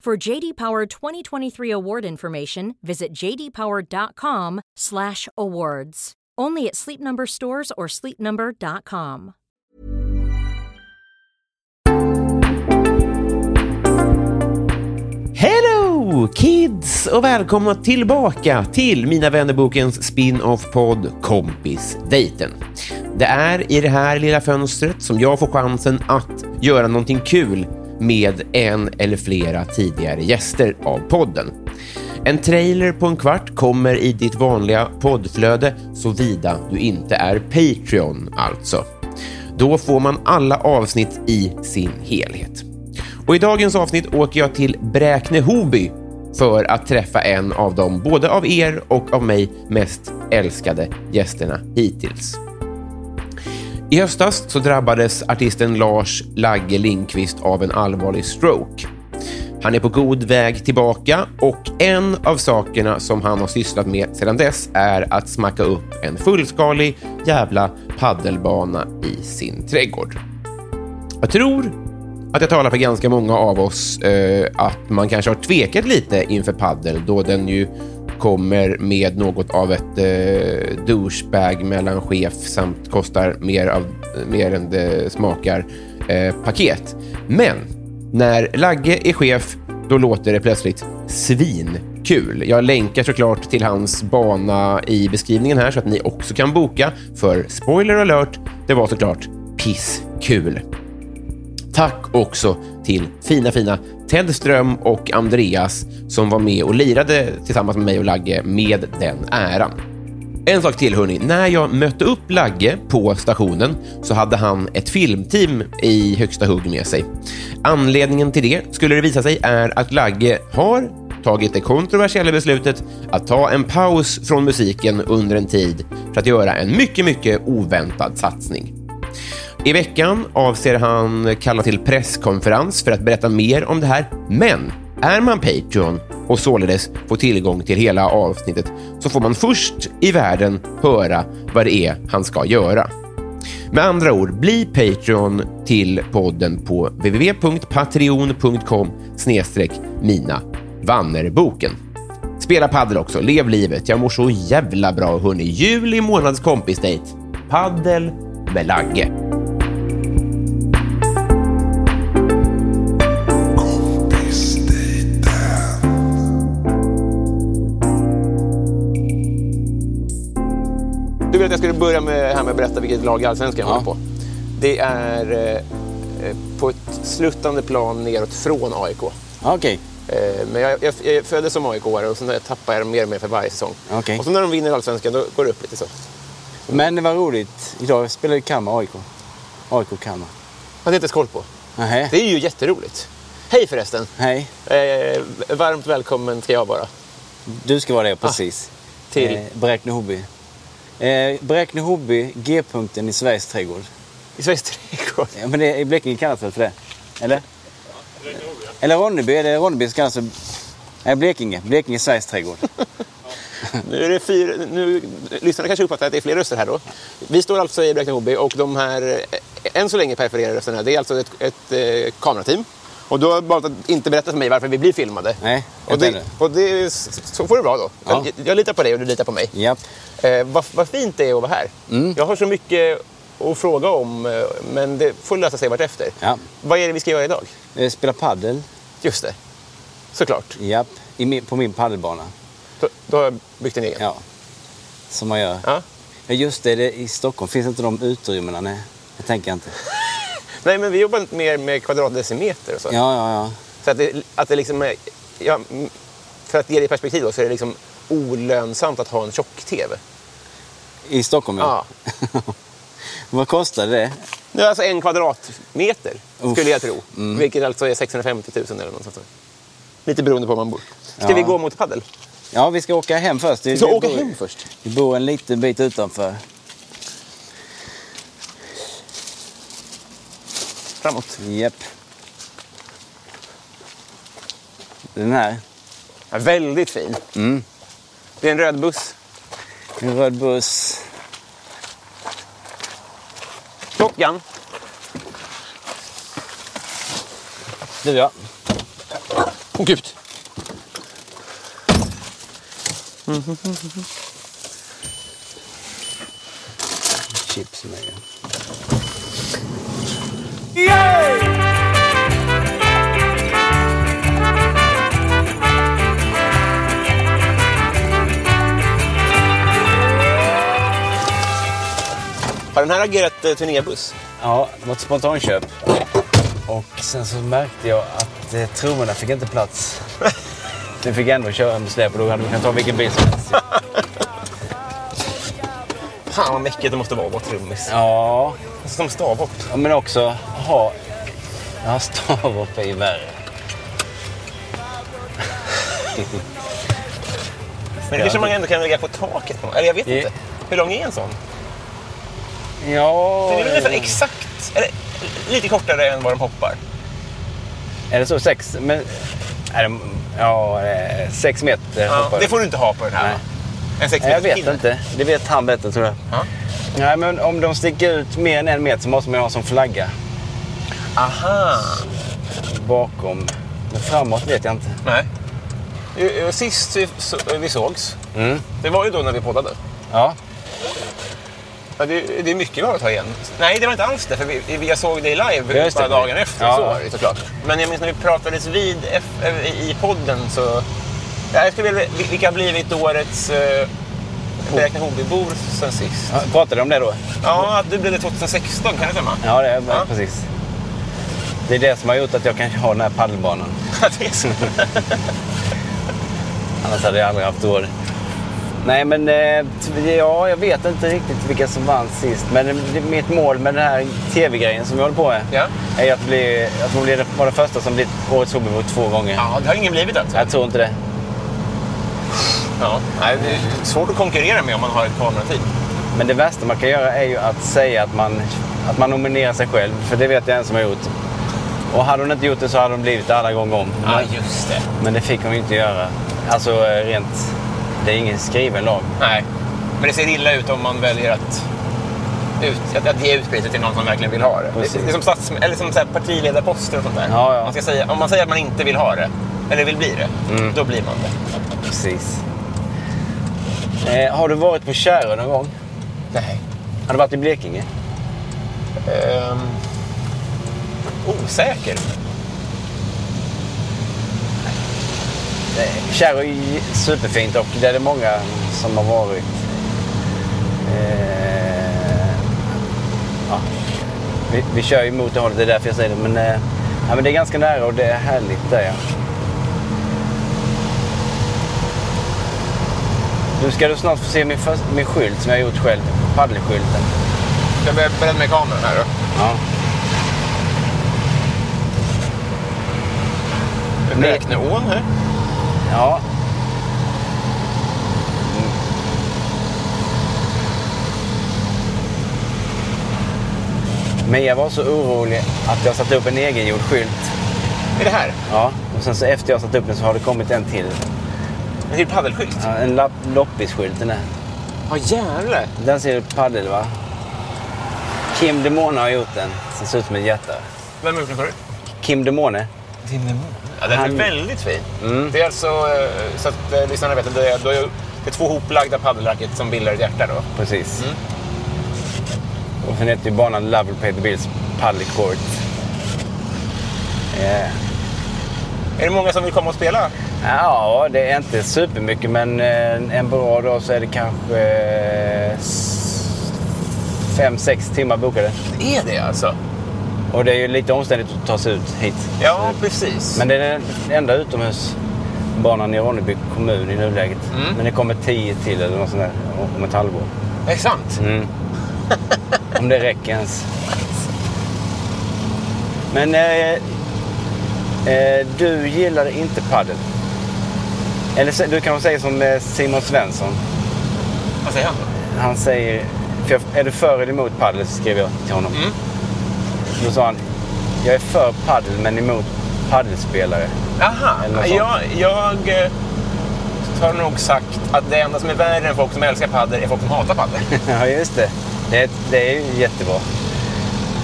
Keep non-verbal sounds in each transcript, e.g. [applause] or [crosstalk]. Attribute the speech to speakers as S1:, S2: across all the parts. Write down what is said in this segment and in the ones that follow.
S1: For JD Power 2023 award information, visit jdpower.com/awards. Only at Sleep Number stores or sleepnumber.com.
S2: Hello kids och välkomna tillbaka till Mina vännerbokens spin-off-podd Kompisdejten. Det är i det här lilla fönstret som jag får chansen att göra någonting kul med en eller flera tidigare gäster av podden. En trailer på en kvart kommer i ditt vanliga poddflöde såvida du inte är Patreon alltså. Då får man alla avsnitt i sin helhet. Och i dagens avsnitt åker jag till Bräkne-Hoby för att träffa en av de, både av er och av mig, mest älskade gästerna hittills. I höstas så drabbades artisten Lars Lagge Lindqvist av en allvarlig stroke. Han är på god väg tillbaka och en av sakerna som han har sysslat med sedan dess är att smacka upp en fullskalig jävla paddelbana i sin trädgård. Jag tror att jag talar för ganska många av oss eh, att man kanske har tvekat lite inför paddel då den ju kommer med något av ett eh, douchebag mellanchef samt kostar mer, av, mer än det smakar eh, paket. Men när Lagge är chef då låter det plötsligt svinkul. Jag länkar såklart till hans bana i beskrivningen här så att ni också kan boka. För spoiler alert, det var såklart pisskul. Tack också till fina, fina Ted Ström och Andreas som var med och lirade tillsammans med mig och Lagge med den äran. En sak till hörni, när jag mötte upp Lagge på stationen så hade han ett filmteam i högsta hugg med sig. Anledningen till det, skulle det visa sig, är att Lagge har tagit det kontroversiella beslutet att ta en paus från musiken under en tid för att göra en mycket, mycket oväntad satsning. I veckan avser han kalla till presskonferens för att berätta mer om det här. Men är man Patreon och således får tillgång till hela avsnittet så får man först i världen höra vad det är han ska göra. Med andra ord, bli Patreon till podden på www.patreon.com mina vannerboken. Spela paddel också, lev livet. Jag mår så jävla bra hörni. Juli månads kompisdejt. Paddel med Lagge. Du vill att jag skulle börja med, här med att berätta vilket lag i Allsvenskan jag håller på. Det är eh, eh, på ett sluttande plan neråt från AIK.
S3: Okej.
S2: Eh, Men jag, jag, jag föddes som aik och sen tappar jag dem mer och mer för varje säsong.
S3: Okej.
S2: Och så när de vinner Allsvenskan, då går det upp lite så.
S3: Men det var roligt. Idag spelar ju Kalmar AIK. AIK Kalmar.
S2: Hade jag inte ens koll på.
S3: Nähä.
S2: Det är ju jätteroligt. Hej förresten!
S3: Hej.
S2: Eh, varmt välkommen ska jag vara
S3: Du ska vara det, precis.
S2: till...
S3: Eh, Bräkne Hobby. Eh, Bräkne Hobby, G-punkten i Sveriges trädgård.
S2: I Sveriges trädgård.
S3: Ja, men det, i Blekinge kallas det väl för det? Eller? Eller Ronneby. Är det Ronneby som kallas för... Nej, Blekinge. Blekinge Sveriges trädgård.
S2: Nu är det fyra... Nu, lyssnarna kanske uppfattar att det är fler röster här då. Vi står alltså i Bräkne-Hoby och de här eh, än så länge perforerade rösterna, det är alltså ett, ett eh, kamerateam. Och du har valt att inte berätta för mig varför vi blir filmade.
S3: Nej, jag
S2: och det,
S3: tänkte.
S2: och det, så får det vara då.
S3: Ja.
S2: Jag, jag litar på dig och du litar på mig.
S3: Japp.
S2: Eh, vad, vad fint det är att vara här.
S3: Mm.
S2: Jag har så mycket att fråga om, eh, men det får lösa sig vartefter.
S3: Ja.
S2: Vad är det vi ska göra idag?
S3: Eh, Spela paddel.
S2: Just det.
S4: såklart.
S3: Japp, i min, på min paddelbana.
S4: Då, då har jag byggt en egen.
S3: Ja. Som man gör.
S4: Ja.
S3: Ja, just det, det, i Stockholm finns inte de utrymmena. Nej, det tänker jag inte.
S4: Nej, men vi jobbar mer med kvadratdecimeter och så.
S3: Ja, ja, ja.
S4: Så att det, att det liksom är, ja, m- för att ge det i perspektiv då, så är det liksom olönsamt att ha en tjock-tv.
S3: I Stockholm, ja.
S4: Ja.
S3: Vad kostade det?
S4: Det är alltså en kvadratmeter,
S3: Uff. Mm.
S4: skulle jag tro. Vilket alltså är 650 000 eller något sånt. där. Lite beroende på var man bor. Ska
S3: Ja.
S4: vi gå mot paddel?
S3: Ja, vi ska åka hem först.
S4: Vi ska åka hem först.
S3: Vi bor en liten bit utanför.
S4: Framåt.
S3: Japp. Den här.
S4: Ja, väldigt fin.
S3: Mm.
S4: Det är en röd buss.
S3: En röd buss.
S4: Top Gun.
S3: Du, ja.
S4: Åh gud.
S3: Chips med. ju.
S4: Har den här agerat eh, turnébuss?
S3: Ja, det var ett spontanköp. Och sen så märkte jag att eh, trummorna fick inte plats.
S4: [laughs]
S3: Vi fick ändå köra med släp och då hade vi kunnat ta vilken bil som helst.
S4: Fan vad mäckigt det måste vara att vara trummis.
S3: Ja,
S4: Som stavhopp.
S3: men också ha... Ja, stavhopp är
S4: [laughs]
S3: ju värre.
S4: Men det kanske man ändå kan lägga på taket. Eller jag vet
S3: Ja.
S4: inte. Hur lång är en sån?
S3: Ja...
S4: Den är väl nästan exakt, eller lite kortare än vad de hoppar.
S3: Är det så? Sex? Men, är det, ja, det är sex meter hoppar
S4: Det får du inte ha på den här.
S3: Nej.
S4: va? En sex
S3: Nej, Jag
S4: meters
S3: vet
S4: pinne.
S3: inte. Det vet han bättre tror jag.
S4: Ja.
S3: Nej, men om de sticker ut mer än en meter så måste man ju ha som flagga
S4: Aha.
S3: bakom. Men framåt vet jag inte.
S4: Nej. Ju- ju, Sist vi, så, vi sågs,
S3: Mm.
S4: det var ju då när vi poddade.
S3: Ja.
S4: Ja, det, det är mycket vi har att ta igen. Nej, det var inte alls det. För vi, vi, jag såg dig live
S3: Just
S4: bara
S3: det.
S4: dagen efter.
S3: Ja.
S4: Så var det ju såklart. Men jag minns när vi pratades vid eff- eh, i podden så... Ja, jag skulle vilja, vil- vilka har blivit årets eh, Beräkna Hobbybor sen sist?
S3: Ja, Pratade du om det då?
S4: Ja, att du blev det 2016, kan det stämma?
S3: Ja, det är
S4: Ja.
S3: precis. Det är det som har gjort att jag kan ha den här paddelbanan.
S4: [laughs] det är så.
S3: Annars hade jag aldrig haft råd. Nej, men eh, t- ja, jag vet inte riktigt vilka som vann sist. Men det- mitt mål med den här tv-grejen som jag håller på med
S4: Ja.
S3: är att, bli, att man blir det- vara den första som blivit Årets Hobbybo två gånger.
S4: Ja, det har ingen blivit alltså.
S3: Jag tror inte det.
S4: Ja. Nej, det är svårt att konkurrera med om man har ett kamerateam.
S3: Men det värsta man kan göra är ju att säga att man, att man nominerar sig själv. För det vet jag en som har gjort. Och hade hon inte gjort det så hade hon blivit det alla gånger om.
S4: Ja, just det.
S3: Men det fick hon ju inte göra. Alltså eh, rent... Det är ingen skriven lag.
S4: Nej, men det ser illa ut om man väljer att, ut, att, att ge ut priset till någon som verkligen vill ha det. Det,
S3: Precis.
S4: det är som, stats, eller som så här partiledarposter och sånt där.
S3: Ja, ja.
S4: Man ska säga, om man säger att man inte vill ha det, eller vill bli det, då blir man det.
S3: Precis. Eh, har du varit på Kärö någon gång?
S4: Nej.
S3: Har du varit i Blekinge?
S4: osäker.
S3: Eh, Kärö är ju superfint och där är det många som har varit. Eh, ja. vi, vi kör ju mot det hållet, det är därför jag säger det. Men, eh, ja, men det är ganska nära och det är härligt där ja. Nu ska du snart få se min, först, min skylt som jag har gjort själv. Paddelskylten.
S4: Ska jag börja börja med kameran här då?
S3: Ja. Nej.
S4: Räkneån här.
S3: Ja. Mm. Men jag var så orolig att jag satte upp en egengjord skylt.
S4: Är det här?
S3: Ja, och sen så efter jag satt upp den så har det kommit en till.
S4: En till paddelskylt?
S3: Ja, En lapp, loppisskylt den här.
S4: Ja, jävlar.
S3: Den ser ut paddel va? Kim Demone har gjort den. Den ser ut som ett hjärta.
S4: Vem har gjort den förut?
S3: Kim Demone.
S4: Ja, den
S3: Han-
S4: är väldigt fin. Det är alltså, eh, så att eh, lyssnarna vet, att det är, då är det är två hoplagda paddelracket som bildar ett hjärta då.
S3: Precis. Och sen heter ju banan Lovell Peter Bills Padel Court. Eh,
S4: Är det många som vill komma och spela?
S3: Ja, det är inte supermycket men en, en bra dag så är det kanske eh, s- fem sex timmar bokade.
S4: Det är det alltså?
S3: Och det är ju lite omständigt att ta sig ut hit.
S4: Ja, precis.
S3: Men det är den enda utomhusbanan i Ronneby kommun i nuläget. Men det kommer tio till eller något sånt där om ett halvår.
S4: Är det sant?
S3: Om det räcker ens. Men eh, eh, du gillar inte padel. Eller så- du kanske säger som eh, Simon Svensson.
S4: Vad säger han?
S3: Han säger, för jag, är du för eller emot padel? Så skrev jag till honom. Då sa han, jag är för padel men emot padelspelare. [laughs]
S4: Aha,
S3: Eller något sånt.
S4: jag, jag eh, har nog sagt att det enda som är värre än folk som älskar padel är folk som hatar padel.
S3: ja, just det. Det är, det är ju jättebra.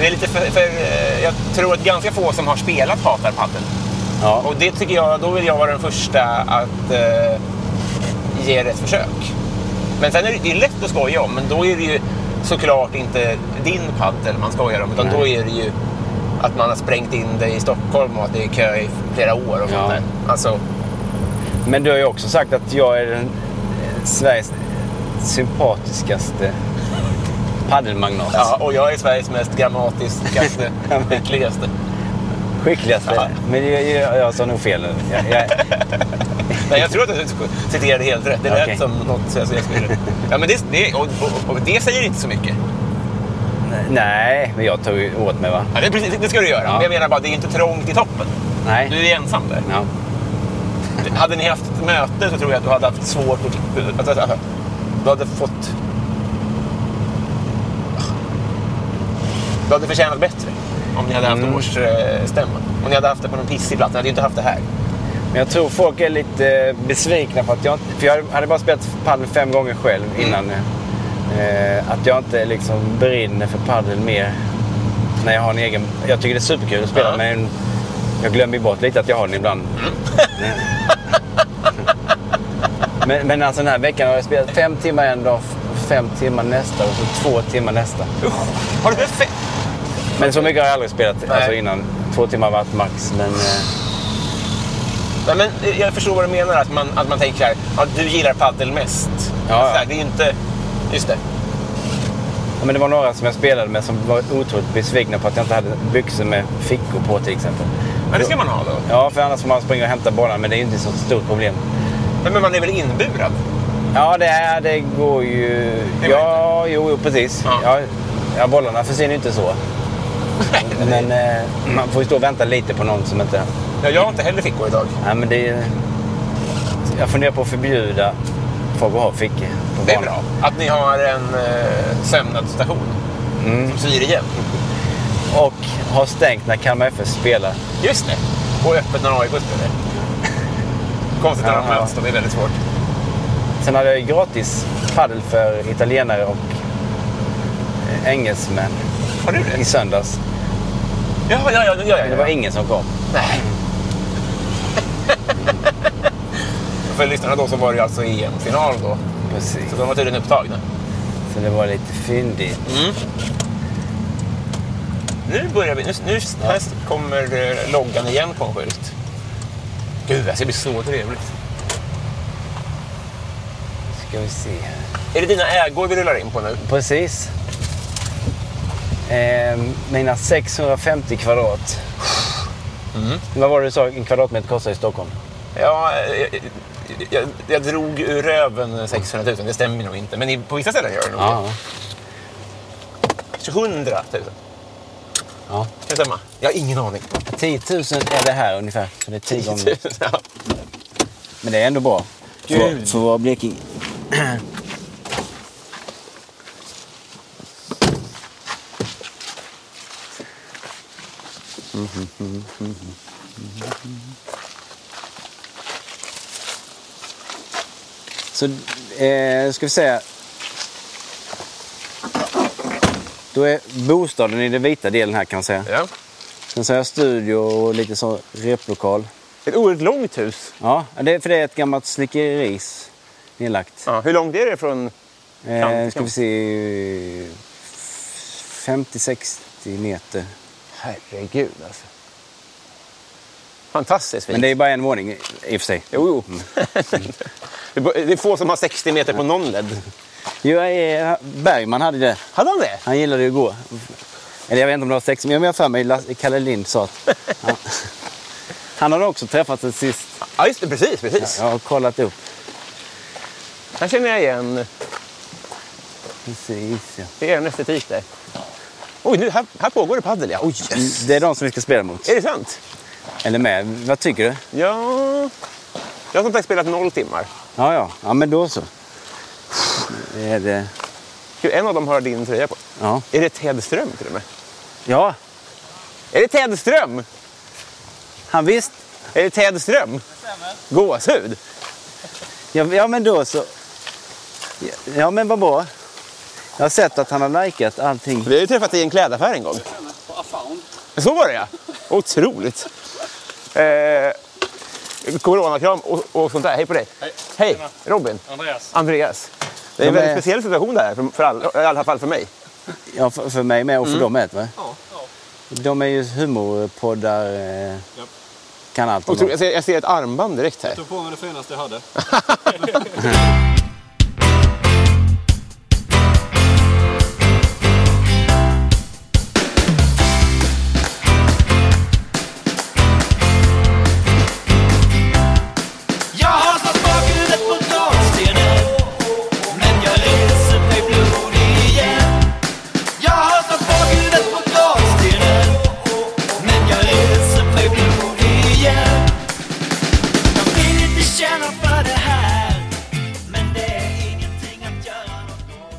S4: Det är lite för, för, eh, jag tror att ganska få som har spelat hatar padel.
S3: Ja.
S4: Och det tycker jag, då vill jag vara den första att eh, ge det ett försök. Men sen är det, det är lätt att skoja om, men då är det ju såklart inte din padel man skojar om, utan då är det ju att man har sprängt in dig i Stockholm och att det är kö i flera år och
S3: Ja.
S4: sånt där. Alltså,
S3: Men du har ju också sagt att jag är den eh, Sveriges sympatiskaste padelmagnat.
S4: ja, och jag är Sveriges mest
S3: [laughs]
S4: eh, grammatiskaste, skickligaste.
S3: Skickligaste.
S4: Ja.
S3: Men jag, jag, jag sa nog fel nu. Jag, jag,
S4: Nej, jag tror att du citerade helt rätt. Det lät
S3: Okej.
S4: som något så jag så jag skulle... Ja, men det, det, och, och, och det säger inte så mycket.
S3: nej, men jag tog ju åt mig va?
S4: Ja, det, är precis, det ska du göra.
S3: Ja.
S4: Men jag menar bara, det är inte trångt i toppen.
S3: Nej.
S4: Du är ensam där.
S3: Ja.
S4: Hade ni haft ett möte så tror jag att du hade haft svårt att... att, att, att du hade fått... Du hade förtjänat bättre om ni hade haft
S3: Mm.
S4: årsstämma. Om ni hade haft det på någon pissig plats. Ni hade ju inte haft det här.
S3: Men jag tror folk är lite eh, besvikna för att jag inte- För jag hade bara spelat padel fem gånger själv
S4: Mm.
S3: innan. Eh, att jag inte liksom brinner för padel mer. När jag har en egen... Jag tycker det är superkul att spela
S4: Ja.
S3: men jag glömmer ju bort lite att jag har
S4: [laughs]
S3: den ibland. men, men alltså den här veckan har jag spelat fem timmar en dag, f- fem timmar nästa och så två timmar nästa.
S4: Har du fe-
S3: Men så mycket har jag aldrig spelat alltså,
S4: Nej.
S3: innan. Två timmar varit max. Men, eh,
S4: Nej, men eh, jag förstår vad du menar, att man, att man tänker så här, ja, du gillar padel mest.
S3: Ja,
S4: Alltså,
S3: ja.
S4: så här, det är ju inte... Just det.
S3: Ja, men det var några som jag spelade med som var otroligt besvikna på att jag inte hade byxor med fickor på till exempel.
S4: Men det ska man ha då.
S3: Ja, för annars får man springa och hämta bollen, men det är ju inte så stort problem.
S4: Nej, Men man är väl inburad?
S3: Ja, det, är, det går ju...
S4: Det går
S3: ja, jo, jo, precis.
S4: Ja.
S3: Ja. Ja, bollarna försvinner ju inte så.
S4: [laughs]
S3: Men eh, man får ju stå och vänta lite på någon som inte...
S4: Ja, jag har inte heller fickor idag.
S3: Ja, men det är, jag funderar på att förbjuda folk att ha fickor på
S4: Det är
S3: banan.
S4: bra. Att ni har en eh, sömnadsstation
S3: Mm.
S4: som syr igen.
S3: Och ha stängt när Kalmar FF spelar.
S4: Just det. Och öppet när AIK spelar. Konstigt när de
S3: Ja.
S4: möts, då, det är väldigt svårt.
S3: Sen hade jag ju gratis paddel för italienare och eh, engelsmän
S4: Har du
S3: i
S4: det?
S3: söndags.
S4: Ja, ja, ja. ja, ja,
S3: Men det var
S4: ja.
S3: ingen som kom.
S4: Nej. För lyssnarna då så var det ju alltså EM-final då.
S3: Precis.
S4: Så de var tydligen upptagna.
S3: Så det var lite fyndigt.
S4: Nu börjar vi. Nu, nu här kommer eh, loggan igen på en skylt. Gud, det här ska bli så trevligt.
S3: Ska vi se här.
S4: Är det dina ägor vi rullar in på nu?
S3: Precis. Eh, mina 650 kvadrat. Vad var det du sa en kvadratmeter kostar i Stockholm?
S4: Ja, eh, jag, jag, jag drog ur röven 600 000. Det stämmer nog inte. Men i- på vissa ställen gör det nog
S3: Ja.
S4: 100 000. Kan
S3: ja.
S4: det stämma? Jag har ingen aning.
S3: 10 000 är det här ungefär. Så det är 10 gånger.
S4: [laughs] Ja.
S3: Men det är ändå bra. För,
S4: Gud.
S3: för våra Blekinge. Så eh, ska vi säga. Då är bostaden i den vita delen här kan man säga.
S4: Ja.
S3: Sen så har jag studio och lite så replokal.
S4: Ett oerhört långt hus.
S3: Ja, det är, för det är ett gammalt slickeris nedlagt.
S4: Ja, hur långt är det från...
S3: eh, ska vi se... 50-60 meter.
S4: Herregud alltså. Fantastiskt fint.
S3: Men det är bara en våning i i och för sig. Mm.
S4: Jo, jo. Det är- det är få som har 60 meter på någon led.
S3: Jag är, Bergman hade det.
S4: Hade han det?
S3: Han gillade ju att gå. Eller jag vet inte om det var sex, men jag har för mig Lasse- Kalle Lind sa att... Ja. Han hade också träffat sen sist.
S4: Ja, just det. Precis, precis.
S3: Jag har kollat upp.
S4: Här känner jag igen,
S3: Precis, ja.
S4: det är en estetik där. Oj, nu, här, här pågår det padel ja. Oj, yes. Eh.
S3: Det är de som vi ska spela mot.
S4: Är det sant?
S3: Eller med. Vad tycker du?
S4: Ja... Jag har som sagt spelat noll timmar.
S3: Ja, ja. Ja, men då så. Det är det.
S4: Gud, En av dem har din tröja på.
S3: Ja.
S4: Är det Ted Ström till och med?
S3: Ja,
S4: Är det Ted Ström?
S3: han visst.
S4: Är det Ted Ström? Gåshud?
S3: Ja, ja, men då så. Ja, men vad bra. Jag har sett att han har likat allting.
S4: Vi har ju träffat i en klädaffär en gång. Så var det ja. Otroligt. Eh, coronakram och, och sånt där. Hej på dig. Hej. Robin.
S5: Andreas.
S4: Andreas. Det är en
S3: De är-
S4: väldigt speciell situation det här, för, för all, i alla fall för mig.
S3: Ja, för, för mig med och för dem med. Va? De är ju humorpoddar. Eh, Kan allt om
S4: Otro,
S3: dem.
S4: jag, ser, jag ser ett armband direkt här.
S5: tog på mig det finaste jag hade.
S6: Jag har slått bakhuvudet på takstenen Men jag reser mig blodig igen Jag har slått bakhuvudet på takstenen Men jag reser mig blodig igen Jag vill inte känna för det här Men det är ingenting att göra något åt